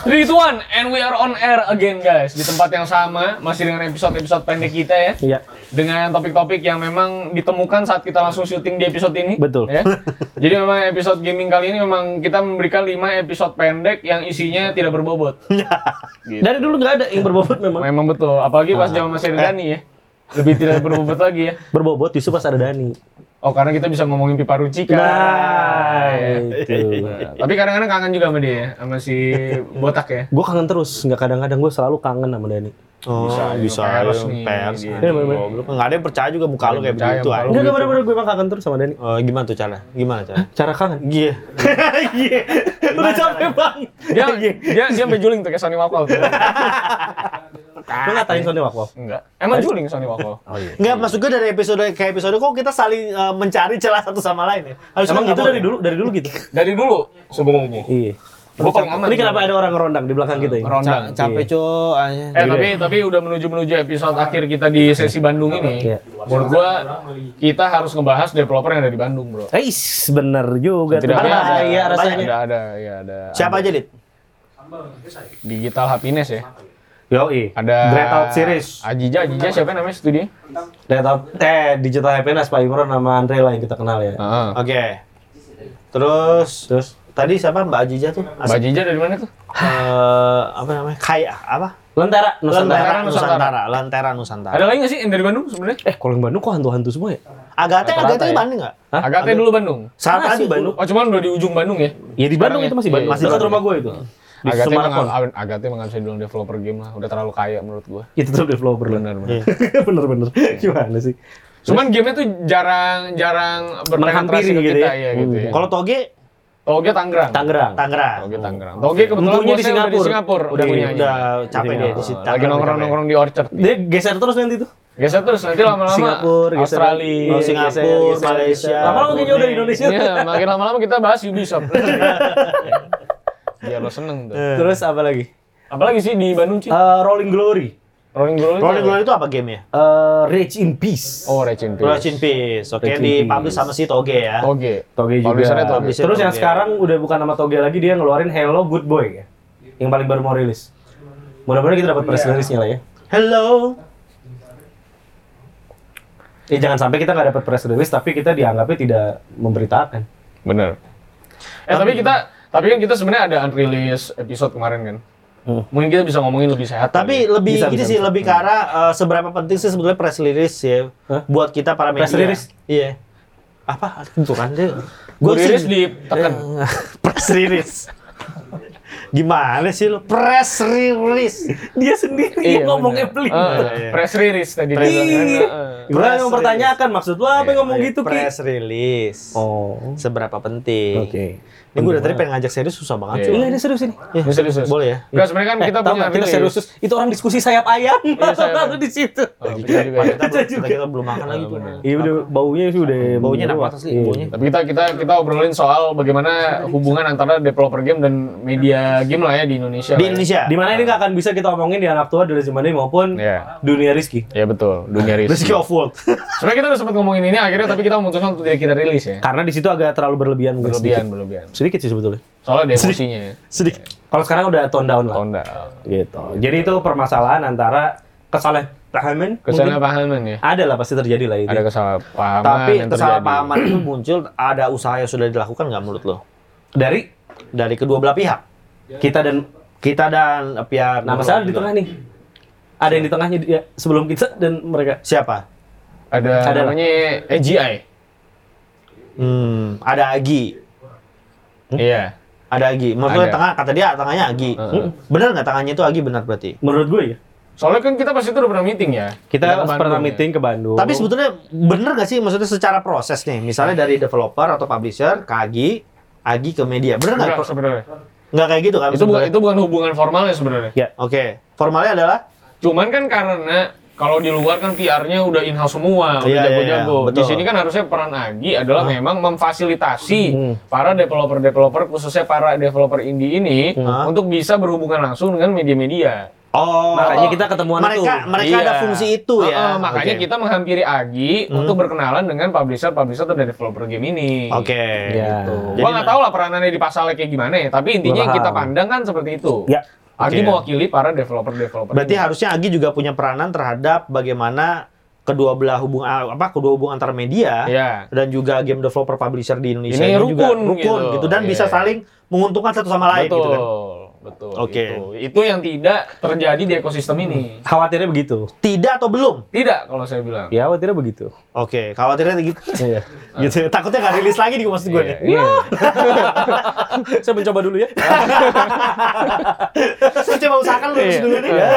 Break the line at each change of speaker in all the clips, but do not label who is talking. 3, 2, 1, and we are on air again guys Di tempat yang sama, masih dengan episode-episode pendek kita ya
Iya.
Dengan topik-topik yang memang ditemukan saat kita langsung syuting di episode ini
Betul.
ya. Jadi memang episode gaming kali ini memang kita memberikan 5 episode pendek yang isinya tidak berbobot Gitu.
Dari dulu nggak ada yang berbobot memang.
Memang betul, apalagi pas zaman masih ada Dani ya Lebih tidak berbobot lagi ya
Berbobot justru pas ada Dani.
Oh karena kita bisa ngomongin pipa rucika
Nah,
Ya.
itu.
Nah, Tapi kadang-kadang kangen juga sama dia ya, sama si botak ya
Gue kangen terus, nggak kadang-kadang gue selalu kangen sama Dani.
Oh,
Bisa, ya.
bisa, bisa
pers
pers,
nih,
pers.
gitu.
anjing, goblok. Nggak ada yang percaya juga muka lu kayak
Percaya
begitu
muka lu.
aja.
Enggak, enggak bener-bener gue emang kangen terus sama Dani.
gimana tuh cara? Gimana cara?
Cara kangen.
Iya. Iya.
Udah capek bang.
Dia,
Iya.
dia, dia sampai juling tuh kayak Sony Wakwal tuh. Nah,
Lo
iya.
ngatain Sony Wakwal.
Enggak. Emang juling Sony Wakwal?
Enggak, maksud gue dari episode ke episode kok kita saling eh, mencari celah satu sama lain ya. Harusnya
Emang
nggak
gitu
boleh.
dari dulu, dari dulu gitu.
Dari dulu sebelumnya.
Iya.
Gue paling aman.
Ini kenapa ada orang ngerondang di belakang kita ya?
Rondang.
Ca- capek cowok anjing.
Eh tapi tapi udah menuju menuju episode akhir kita di sesi Bandung ini.
Iya.
Menurut gua kita harus ngebahas developer yang ada di Bandung, Bro.
Eis, bener juga. tuh.
ada.
Bahaya
Banyak.
iya, rasanya.
Ada ada ya ada.
Siapa aja, Dit?
Digital Happiness ya.
Yoi.
Ada
Dread Out Series.
Ajija, Ajija siapa namanya studio?
Dread Out. Eh, Digital Happiness, Pak Imron sama Andre lah yang kita kenal ya.
Heeh.
Oke. Terus
Terus,
tadi siapa Mbak Ajija tuh?
Mbak
As-
Ajija dari mana tuh?
eh, apa namanya? Kaya apa?
Lentera, Nusantara.
Lentera Nusantara, Lentera Nusantara.
Ada lagi nggak sih yang dari Bandung sebenarnya?
Eh, kalau yang Bandung kok hantu-hantu semua ya?
Agate,
Rata-rata
Agate
ya?
Bandung nggak?
Hah?
Agaknya dulu Bandung.
Saat
Masih
tadi
Bandung.
Bandung.
Oh cuman udah di ujung Bandung ya?
Ya di
Sekarang
Bandung itu masih
ya?
Bandung.
Iya,
Masih
iya.
dekat rumah gue itu. Di
Agate
Sumarakon.
mengal- Agate emang nggak bisa dibilang developer game lah, udah terlalu kaya menurut gua.
Itu tuh developer lah.
Benar benar.
Bener-bener. Gimana sih?
Cuman gamenya tuh jarang-jarang berpenetrasi
Menghampiri
ke
gitu
kita
ya?
ya, gitu ya.
Kalau Toge
Toge Tangerang.
Tanggerang.
Tangerang.
Toge Tangerang. Toge kebetulan
Empunya
gua
di
saya udah di
Singapura.
Singapura. Iya.
Udah,
punya.
udah capek dia di situ.
Lagi nongkrong-nongkrong di Orchard.
Dia geser terus nanti tuh.
Geser terus nanti lama-lama
Singapura, geser. Iya,
Australia.
Oh, Singapura, Malaysia.
Lama-lama kayaknya udah di Indonesia.
Iya, makin lama-lama kita bahas Ubisoft. Biar lo seneng tuh.
Terus apa lagi?
Apalagi sih di Bandung, Ci?
Iya. Eh, Rolling Glory.
Rolling Glory.
Rolling Glory itu apa game ya?
Eh, Rage in Peace.
Oh, Racing
Rest in Peace. Oke,
Rest in
di
Peace.
publish sama si Toge ya.
Toge.
Toge juga.
Publishernya Toge.
Publisher
Terus yang
Toge.
sekarang udah bukan nama Toge lagi, dia ngeluarin Hello Good Boy ya. Yang paling baru mau rilis. Mudah-mudahan kita dapat press release-nya lah ya.
Hello.
Eh jangan sampai kita nggak dapat press release tapi kita dianggapnya tidak memberitakan.
Bener. Eh tapi kita tapi kan kita sebenarnya ada unreleased episode kemarin kan.
Hmm.
Mungkin kita bisa ngomongin lebih sehat.
Tapi
kali ya.
lebih
Bisa,
ini
bisa,
sih
bisa.
lebih ke arah eh, seberapa penting sih sebetulnya press release ya
Hah?
buat kita para media.
Press release?
Iya. Apa? Itu kan dia.
gue
Gua sih-
rilis ditekan.
press release. Gimana sih lu press release?
Dia sendiri
Iya,
ngomongnya
bener.
pelit.
Eh,
Iya.
press release tadi. dia bilang kan,
Iya.
eh.
Gue yang mempertanyakan maksud lu apa yang ngomong
Iya,
gitu Ki?
Press release.
Oh.
Seberapa penting?
Oke.
Ini gue udah tadi pengen ngajak serius susah
Iya.
banget.
Ini ada serius ini.
Iya.
Ini serius, serius.
Boleh ya?
Enggak sebenarnya kan kita
eh,
punya
tahu nggak, kita
rilis.
serius. Itu orang diskusi sayap ayam.
sayap
Lalu
ayam.
di situ.
Oh, bisa juga ya.
Kita, belum-
juga.
kita, kita belum makan lagi tuh.
Iya udah baunya sih udah
Baunya enak
menyeruak.
banget sih,
Iya.
baunya.
Tapi kita kita kita obrolin soal bagaimana hubungan antara developer game dan media game lah ya di Indonesia.
Di
lah ya.
Indonesia.
Di mana ini nggak akan bisa kita omongin di anak tua dari zaman ini maupun
Iya.
dunia Rizky.
Ya betul, dunia rilis.
Rizky of World.
Sebenarnya kita udah sempat ngomongin ini akhirnya tapi kita memutuskan untuk tidak kita rilis ya.
Karena di situ agak terlalu berlebihan mungkin
Berlebihan, berlebihan.
sedikit. Sedikit sih sebetulnya.
Soalnya ada emosinya ya. Oh,
Sedikit.
Kalau sekarang udah tone down lah.
Tonda.
Gitu. Jadi itu permasalahan antara kesalahpahaman mungkin
Kesalahpahaman ya.
ada lah pasti terjadi lah itu.
Ada kesalahpahaman
Tapi
yang
kesalahpahaman itu muncul ada usaha yang sudah dilakukan nggak menurut lo?
Dari
Dari kedua belah pihak.
kita dan
Kita dan pihak gitu.
nah masalah di tengah nih. Ada yang di tengahnya dia sebelum kita dan mereka.
Siapa?
terjadi. Ada,
Ada
namanya AGI.
Hmm, ada Agi.
Iya.
Ada Agi. Maksudnya
Ada.
tengah kata dia tangannya Agi.
Heeh.
Benar nggak tangannya itu Agi benar berarti?
Menurut gue ya.
Soalnya kan kita pasti itu udah pernah meeting ya.
Kita
ke Bandung
pernah
ya.
meeting ke Bandung.
Tapi sebetulnya benar nggak sih maksudnya secara proses nih? Misalnya dari developer atau publisher ke Agi, Agi ke media. Benar nggak?
Enggak sebenarnya.
Nggak kayak gitu kan?
Itu bukan
sebenarnya?
itu bukan hubungan formalnya sebenarnya.
Ya.
Oke. Formalnya adalah
Cuman kan karena kalau di luar kan PR-nya udah in-house semua, udah
Iya, iya,
jago-jago.
iya,
Di
betul.
sini kan harusnya peran Agi adalah memang memfasilitasi
Hmm.
para developer-developer khususnya para developer indie ini
Hmm.
untuk bisa berhubungan langsung dengan media-media.
Oh,
Makanya kita ketemuan
mereka,
itu.
Mereka ada
Iya.
fungsi itu ya.
Heeh, makanya gitu.
Oke. Hmm.
kita menghampiri Agi untuk berkenalan dengan publisher-publisher atau developer game ini.
Oke.
Iya.
gitu.
Gua nggak tahu lah peranannya di pasalnya kayak gimana ya, tapi intinya yang kita
paham.
pandang kan seperti itu.
Ya.
Agi
Oke.
mewakili para developer-developer.
Berarti
ini.
harusnya Agi juga punya peranan terhadap bagaimana kedua belah hubung ah, apa kedua hubung antar media
Iya.
dan juga game developer publisher di Indonesia
Ini
juga
rukun
rukun
gitu.
gitu,
Iya.
dan bisa saling menguntungkan satu sama lain
betul,
gitu kan.
betul.
Oke.
Itu. Itu yang tidak terjadi di ekosistem ini.
Khawatirnya begitu.
Tidak atau belum?
Tidak kalau saya bilang.
Ya
Iya,
khawatirnya begitu.
Oke, khawatirnya gitu.
Iya.
gitu. Takutnya nggak rilis lagi nih maksud gue.
Iya,
nih. Nah,
iya.
Saya mencoba dulu ya.
Saya coba usahakan lurus
Iya.
dulu nih.
Iya.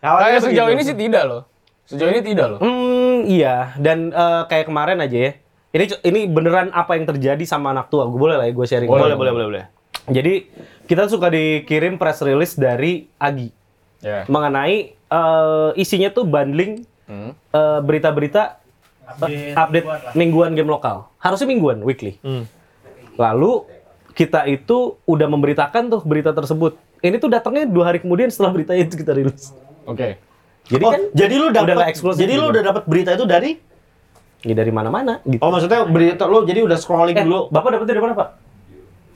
Khawatirnya
Kayak sejauh
begitu.
ini sih tidak loh. Sejauh ini tidak loh.
Hmm, iya. Dan eh, kayak kemarin aja ya. Ini ini beneran apa yang terjadi sama anak tua? Gue boleh lah ya gue sharing.
Boleh,
boleh boleh boleh boleh.
Jadi kita suka dikirim press release dari Agi
Ya.
mengenai eh, isinya tuh bundling
Hmm.
eh, berita-berita eh,
Update
update
mingguan lah.
mingguan game lokal. Harusnya mingguan, weekly.
Hmm.
Lalu kita itu udah memberitakan tuh berita tersebut. Ini tuh datangnya dua hari kemudian setelah berita itu kita rilis.
Oke.
Jadi
Oh,
kan
jadi lu
udah
dapat
nggak eksklusif
jadi lu
gitu.
udah dapat berita itu dari
ya dari mana-mana gitu.
Oh, maksudnya berita lu jadi udah scrolling
Eh,
dulu.
Bapak dapetnya dari mana, Pak?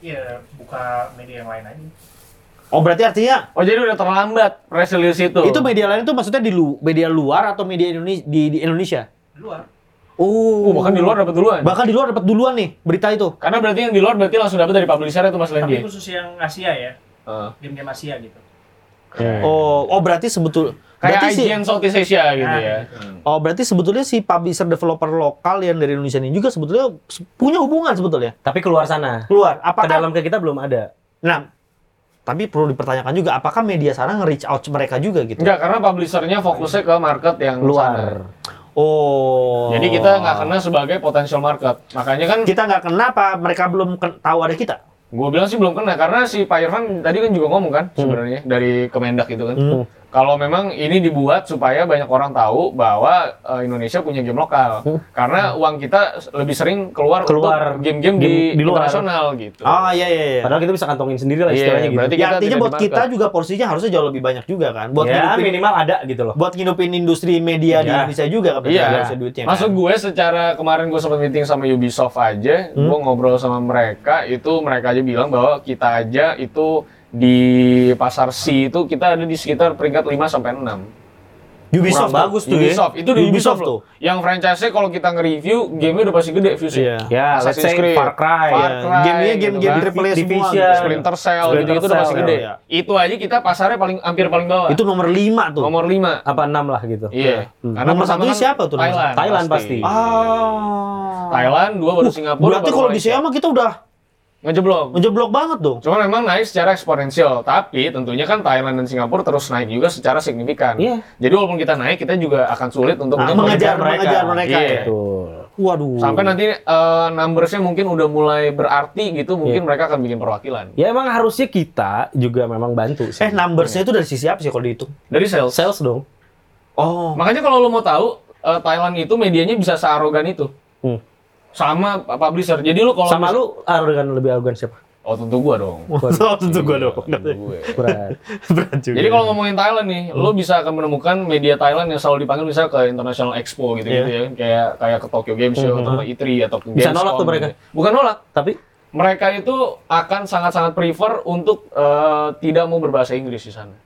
Iya, buka media yang lain aja.
Oh, berarti artinya
Oh jadi udah terlambat press release itu.
itu media lain itu maksudnya di lu, media luar atau media Indonesia di, di Indonesia?
Di luar.
Oh,
Oh,
bahkan di luar dapat duluan.
bahkan di luar dapat duluan nih berita itu.
Karena berarti yang di luar berarti langsung dapat dari publisher itu Mas
Tapi
Lendi.
khusus yang Asia ya,
Heeh.
game-game Asia gitu.
Eh.
Oh, oh berarti sebetul berarti
Kayak
si-
IGN Southeast Asia gitu
Nah,
ya.
Oh, berarti sebetulnya si publisher developer lokal yang dari Indonesia ini juga sebetulnya se- punya hubungan sebetulnya.
Tapi keluar sana.
Keluar.
Ke
Apakah
dalam ke kita belum ada.
Nah, tapi perlu dipertanyakan juga apakah media sana nge-reach out mereka juga gitu.
Enggak, karena publishernya fokusnya ke market yang sana.
Luar.
Oh.
Jadi kita nggak kena sebagai potential market. Makanya kan
Kita nggak kenapa mereka belum ken- tahu ada kita.
gue bilang sih belum kena karena si Pak Irfan tadi kan juga ngomong kan
Hmm.
sebenarnya dari Kemendak itu kan.
Hmm.
Kalau memang ini dibuat supaya banyak orang tahu bahwa eh, Indonesia punya game lokal. Karena uang kita lebih sering keluar,
Hmm. Keluar.
untuk game-game di,
Game di luar.
internasional gitu.
Oh iya iya iya.
Padahal kita bisa kantongin sendiri lah
Iya,
istilahnya gitu.
berarti
Ya, artinya
tidak
buat
dimakan.
kita juga porsinya harusnya jauh lebih banyak juga kan. Buat
ya,
ngidupin
minimal ada gitu loh.
buat ngidupin industri media di
Iya.
Indonesia juga kan
Iya.
harusnya duitnya. kan.
Maksud gue secara kemarin gue sempat meeting sama Ubisoft aja,
Hmm.
gue ngobrol sama mereka, itu mereka aja bilang bahwa kita aja itu di pasar C itu kita ada di sekitar peringkat 5 sampai 6.
Ubisoft
Kurang
bagus tuh ya.
Ubisoft, itu di Ubisoft,
tuh.
loh. Yang franchise-nya kalau kita nge-review, game-nya udah pasti gede views-nya.
Iya.
Ya, let's
Assassin's
say
Creed,
Far
Far
Cry.
Iya.
Cry,
Game-nya
gitu
game-game
kan.
triple A semua.
Division.
gitu.
Splinter Cell
Splinter
gitu, itu udah pasti
Cell,
gede.
iya.
Itu aja kita pasarnya paling hampir paling bawah.
Itu nomor 5 tuh.
nomor 5.
Apa enam lah gitu.
Iya. Karena pertama
Nomor satunya
kan
siapa tuh nomor
Thailand.
satu? Thailand pasti.
Ah.
Thailand, dua baru Singapura.
Berarti
baru ya.
kalau di
Malaysia.
SEA mah kita udah
ngejeblok.
ngejeblok banget dong.
Cuma memang naik secara eksponensial, tapi tentunya kan Thailand dan Singapura terus naik juga secara signifikan.
Iya.
Jadi walaupun kita naik, kita juga akan sulit untuk
Ah,
mengejar
mengejar mengejar mereka.
Iya.
ya.
Betul.
Waduh.
Sampai nanti eh, numbersnya mungkin udah mulai berarti gitu,
Iya.
mungkin mereka akan bikin perwakilan.
Ya emang harusnya kita juga memang bantu sih.
eh numbersnya itu dari sisi apa sih kalau dihitung?
Dari sales.
Sales dong.
Oh.
Makanya kalau lo mau tahu, eh, Thailand itu medianya bisa searogan itu.
Hmm.
Sama publisher. Jadi lo kalau
Sama
mis-
lu arogan lebih arogan siapa?
Oh tentu gua dong.
Waduh, tentu gua dong.
Iya, tentu gue.
Berat.
Berat juga.
Iya.
Jadi kalau ngomongin Thailand nih,
Hmm.
lo bisa akan menemukan media Thailand yang selalu dipanggil misalnya ke International Expo gitu-gitu ya, kayak kayak ke Tokyo Game Show atau ke E3 atau ke
Iya. Hmm. Bisa
Gamescom
nolak tuh mereka.
gitu. Bukan nolak.
Tapi
Mereka itu akan sangat-sangat prefer untuk eh, tidak mau berbahasa Inggris di sana.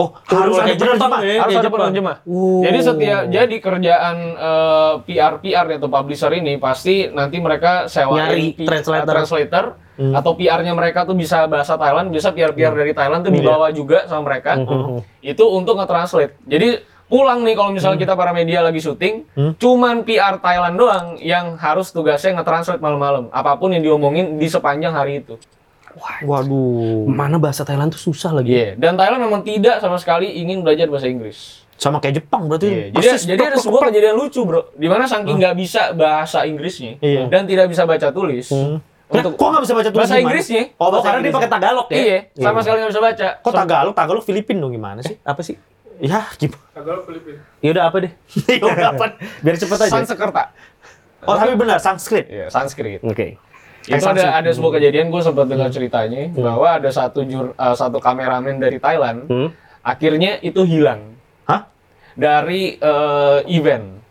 oh, harus ada
kayak Jepang
penerjemah.
Harus
ya. kayak
ada
Jepang.
penerjemah.
Wow.
Jadi setiap jadi kerjaan eh, PR PR ya, atau publisher ini pasti nanti mereka sewa
Nyari
eh,
translator. Hmm.
translator atau PR-nya mereka tuh bisa bahasa Thailand, bisa PR PR dari Thailand
Iya.
tuh dibawa juga sama mereka.
Hmm,
Itu untuk nge-translate. Jadi pulang nih kalau misalnya
Hmm.
kita para media lagi syuting, cuman PR Thailand doang yang harus tugasnya nge-translate malam-malam. Apapun yang diomongin di sepanjang hari itu.
Waduh.
mana bahasa Thailand tuh susah lagi.
Iya, dan Thailand memang tidak sama sekali ingin belajar bahasa Inggris.
Sama kayak Jepang
Iya,
berarti.
jadi,
Persis,
jadi
plek,
ada
plek,
sebuah
plek.
kejadian lucu bro, dimana saking nggak bisa bahasa Inggrisnya
Iya.
dan tidak bisa baca tulis,
Nah,
untuk
kok nggak bisa baca tulis
bahasa
gimana?
Inggrisnya,
Oh, bahasa
karena dia pakai
Inggrisnya.
Tagalog ya.
iya, sama sekali nggak bisa baca.
Kok Tagalog? Tagalog Filipin dong gimana sih?
Apa sih?
Ya, gimana?
Kagak Filipin.
Ya udah apa deh.
Ya, udah, apa?
Biar cepet aja. Oke.
Sansekerta,
Oh, tapi benar Sanskrit.
Iya,
Eh,
Sanskrit. Itu ada ada sebuah kejadian gue sempat dengar ceritanya bahwa ada satu jur, eh, satu kameramen dari Thailand,
Hmm.
akhirnya itu hilang
Hah?
dari eh, event,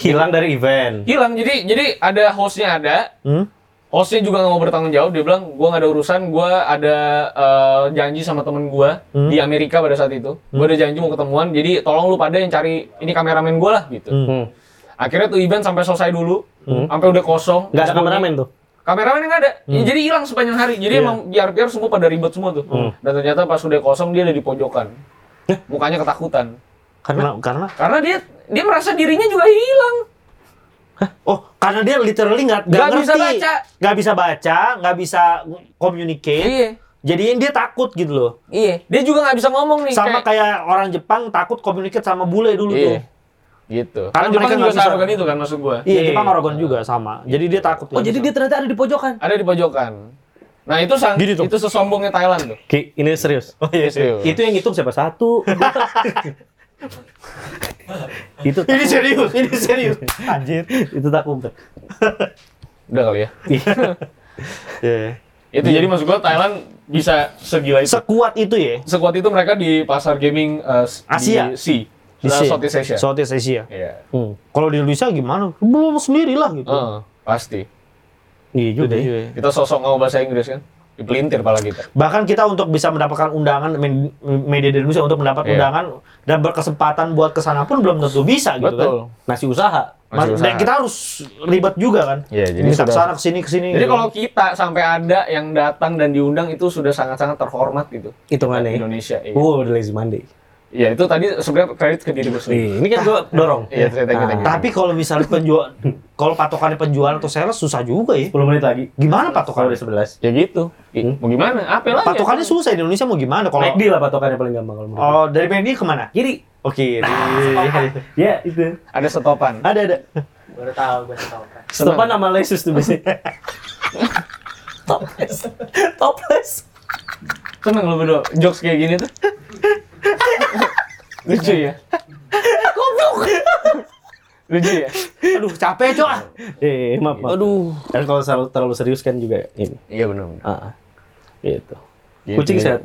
Hilang dari event.
hilang. Jadi jadi ada hostnya ada,
Hmm?
hostnya juga nggak mau bertanggung jawab dia bilang gue nggak ada urusan gue ada eh, janji sama temen gue di Amerika pada saat itu gue ada janji mau ketemuan jadi tolong lu pada yang cari ini kameramen gue lah gitu
Hmm.
akhirnya tuh event sampai selesai dulu sampai udah kosong
Nggak ada
Terus gua-
kameramen tuh.
kameramennya nggak ada Ya, jadi hilang sepanjang hari jadi emang biar-biar semua pada ribet semua tuh dan ternyata pas udah kosong dia ada di pojokan mukanya ketakutan
Nah.
Karena karena
karena dia dia merasa dirinya juga hilang
oh, karena dia literally nggak nggak
Nggak bisa
ngerti.
baca.
Nggak bisa baca, nggak bisa communicate.
iya
Jadinya dia takut gitu loh.
iya dia juga nggak bisa ngomong nih
Sama Iya, kayak orang Jepang takut communicate sama bule dulu
iya
tuh.
gitu
Karena
karena Jepang
mereka
juga
nggak bisa-
searogan itu kan maksud gua
Iya, Jepang Oregon juga sama. Jadi dia takut.
Oh, jadi dia ternyata ada di pojokan.
ada di pojokan nah itu sang
Gini tuh.
itu sesombongnya Thailand tuh
Ki, ini serius.
Oh iya sih.
Serius.
Itu yang hitung siapa? Satu. itu
Ini serius, ini serius.
anjir. Itu tak kumpet.
udah kali ya
Iya.
itu jadi maksud gua Thailand bisa segila itu
Sekuat itu ya.
sekuat itu mereka di pasar gaming eh, s-
Asia.
di C
Di
eh,
sini.
Southeast Asia
Southeast Asia.
Iya.
Hmm.
Kalau di Indonesia gimana? Belum sendirilah gitu.
Heeh, pasti
Iya juga. ya.
Iya.
kita sosok ngomong bahasa Inggris kan dipelintir pala kita
Bahkan kita untuk bisa mendapatkan undangan men- media dari Indonesia untuk mendapat
Iya.
undangan dan berkesempatan buat ke sana pun belum tentu bisa gitu kan.
Nasi usaha.
Mas-
Masih
dan
usaha.
kita harus ribet juga kan.
Iya, jadi
Bisa
sudah-
kesana kesini kesini.
Jadi
gitu.
kalau kita sampai ada yang datang dan diundang itu sudah sangat-sangat terhormat gitu.
Hitungannya.
ya?
Indonesia. Iya.
Oh, udah lazy Monday.
Iya, itu tadi sebenarnya kredit ke diri gue sendiri.
Ih, Ini kan gua dorong.
Iya, ternyata kita gitu.
tapi kalau misalnya penjual kalau patokannya penjualan atau sales susah juga ya.
10 menit lagi.
Gimana
Kalau
patokannya?
udah 11.
Ya gitu. Ih, Mau gimana? Apa lagi?
Patokannya susah di Indonesia mau gimana kalau
McD lah patokannya paling gampang kalau menurut.
Oh, dari McD kemana? Oh,
Kiri.
Oke.
Ya, itu.
Ada setopan.
ada ada.
Baru tahu, baru tahu kan.
Stopan sama Lesus tuh biasanya. Topless. Topless.
Seneng lu berdua. Jokes kayak gini tuh. Lucu ya? Lucu ya?
Aduh, capek, Cok.
Eh, maaf, maaf. Aduh. Dan kalau terlalu, terlalu serius kan juga ini.
Iya benar.
Ah, gitu.
Gitu.
Kucing sehat.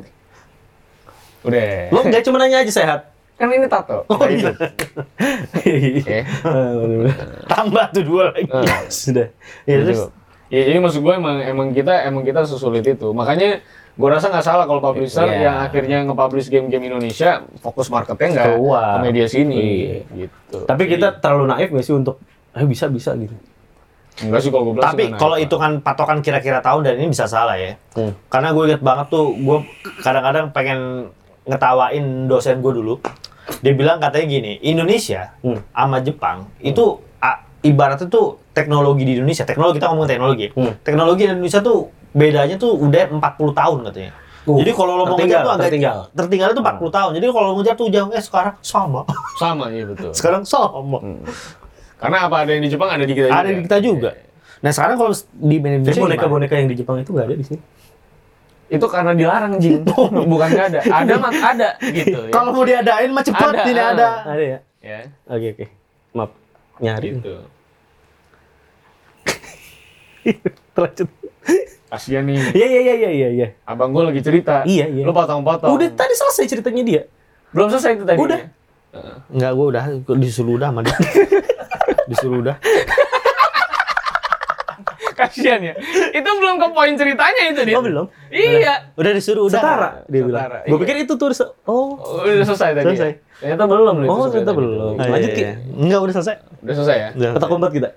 Udah.
Lo nggak cuma nanya aja sehat.
Kan ini tato. Oh iya. Oke.
Ah, bener-bener.
Tambah tuh dua lagi.
Ah.
Eh.
Sudah. Iya,
Ya, terus
Gitu. Ya, jadi maksud gue emang emang kita emang kita sesulit itu. Makanya gue rasa nggak salah kalau publisher
Iya.
yang akhirnya nge-publish game-game Indonesia fokus marketnya nggak
Keluar.
ke media sini gitu.
Tapi kita terlalu naif nggak sih untuk eh bisa bisa gitu.
enggak sih kalau gue bilang
Tapi
sih nggak
kalau
naik.
hitungan patokan kira-kira tahun dan ini bisa salah ya.
Hmm.
Karena gue inget banget tuh, gue kadang-kadang pengen ngetawain dosen gue dulu. Dia bilang katanya gini, Indonesia
Hmm.
sama Jepang itu a- ibaratnya tuh teknologi di Indonesia, teknologi kita ngomong teknologi.
Hmm.
Teknologi di Indonesia tuh bedanya tuh udah 40 tahun katanya.
Uh,
Jadi kalau lo mau
tertinggal,
ngejar tuh agak
tertinggal. Hmm.
tertinggal itu 40 tahun. Jadi kalau lo ngejar tuh jauh eh sekarang sama.
sama iya betul.
sekarang sama.
Hmm.
Karena apa ada yang di Jepang ada di kita Iya.
Ada di kita juga. Nah, sekarang kalau
Jadi
di Indonesia
Iya. boneka
gimana?
boneka yang di Jepang itu nggak ada di sini.
Itu karena dilarang Jing. Bukan nggak ada. Ada mak ada gitu ya.
Kalau mau diadain mah cepat
Ada,
tidak
ah.
ada.
Ada ya.
ya
Oke oke. Maaf. Nyari.
gitu.
Terlanjut.
Kasihan nih.
Iya iya iya iya iya. iya.
Abang gue lagi cerita.
Iya, iya.
Lu potong-potong.
Udah tadi selesai ceritanya dia.
belum selesai itu tadi.
Udah.
Enggak, gua udah gua disuruh udah sama dia. disuruh udah.
Kasihan ya. Itu belum ke poin ceritanya itu dia.
Oh, belum?
Iya.
Udah disuruh udah.
Setara
Setara,
dia bilang.
iya.
Gue pikir itu tuh se- oh.
Udah selesai tadi.
Selesai.
Ya? Ternyata belum loh. itu
Oh, ternyata
tadi.
belum.
Ah, iya,
Lanjut,
iya,
Ki.
iya. Enggak, udah selesai.
Udah selesai ya?
Udah.
Kata kombat kita.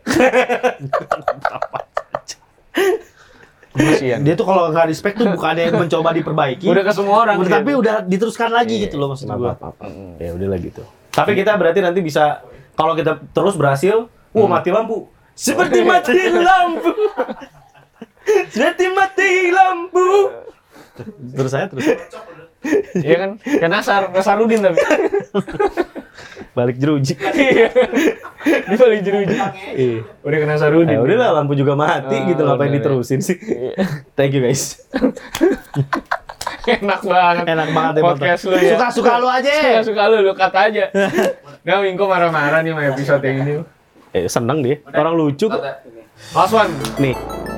Kasihan.
Dia tuh kalau nggak respect tuh bukannya mencoba diperbaiki.
Udah ke semua orang.
Udah,
dia.
tapi udah diteruskan lagi gitu loh maksud
Maaf,
gua.
maaf, maaf.
Mm.
Ya udah lah gitu. Tapi kita berarti nanti bisa kalau kita terus berhasil,
uh, Hmm.
wah mati lampu.
Oh,
Seperti
iya.
mati lampu. Seperti mati lampu.
Terus saya terus.
Iya kan? Kayak Nasar. Nasarudin tapi.
Balik jeruji.
Iya. Dia balik jeruji.
Iya.
Eh, Udah ke Nasarudin.
Ya udah lah lampu juga
Iya.
mati
Ah,
gitu ngapain
udah,
diterusin sih. Thank you guys.
Enak banget.
Enak banget ya,
Podcast
Bang.
lu ya.
Suka-suka lu aja.
Suka-suka lu. Lu kata aja. Nggak, Wingko marah-marah nih sama episode yang ini.
Eh seneng dia. Orang lucu kok.
Kata ini.
Last one.
Nih.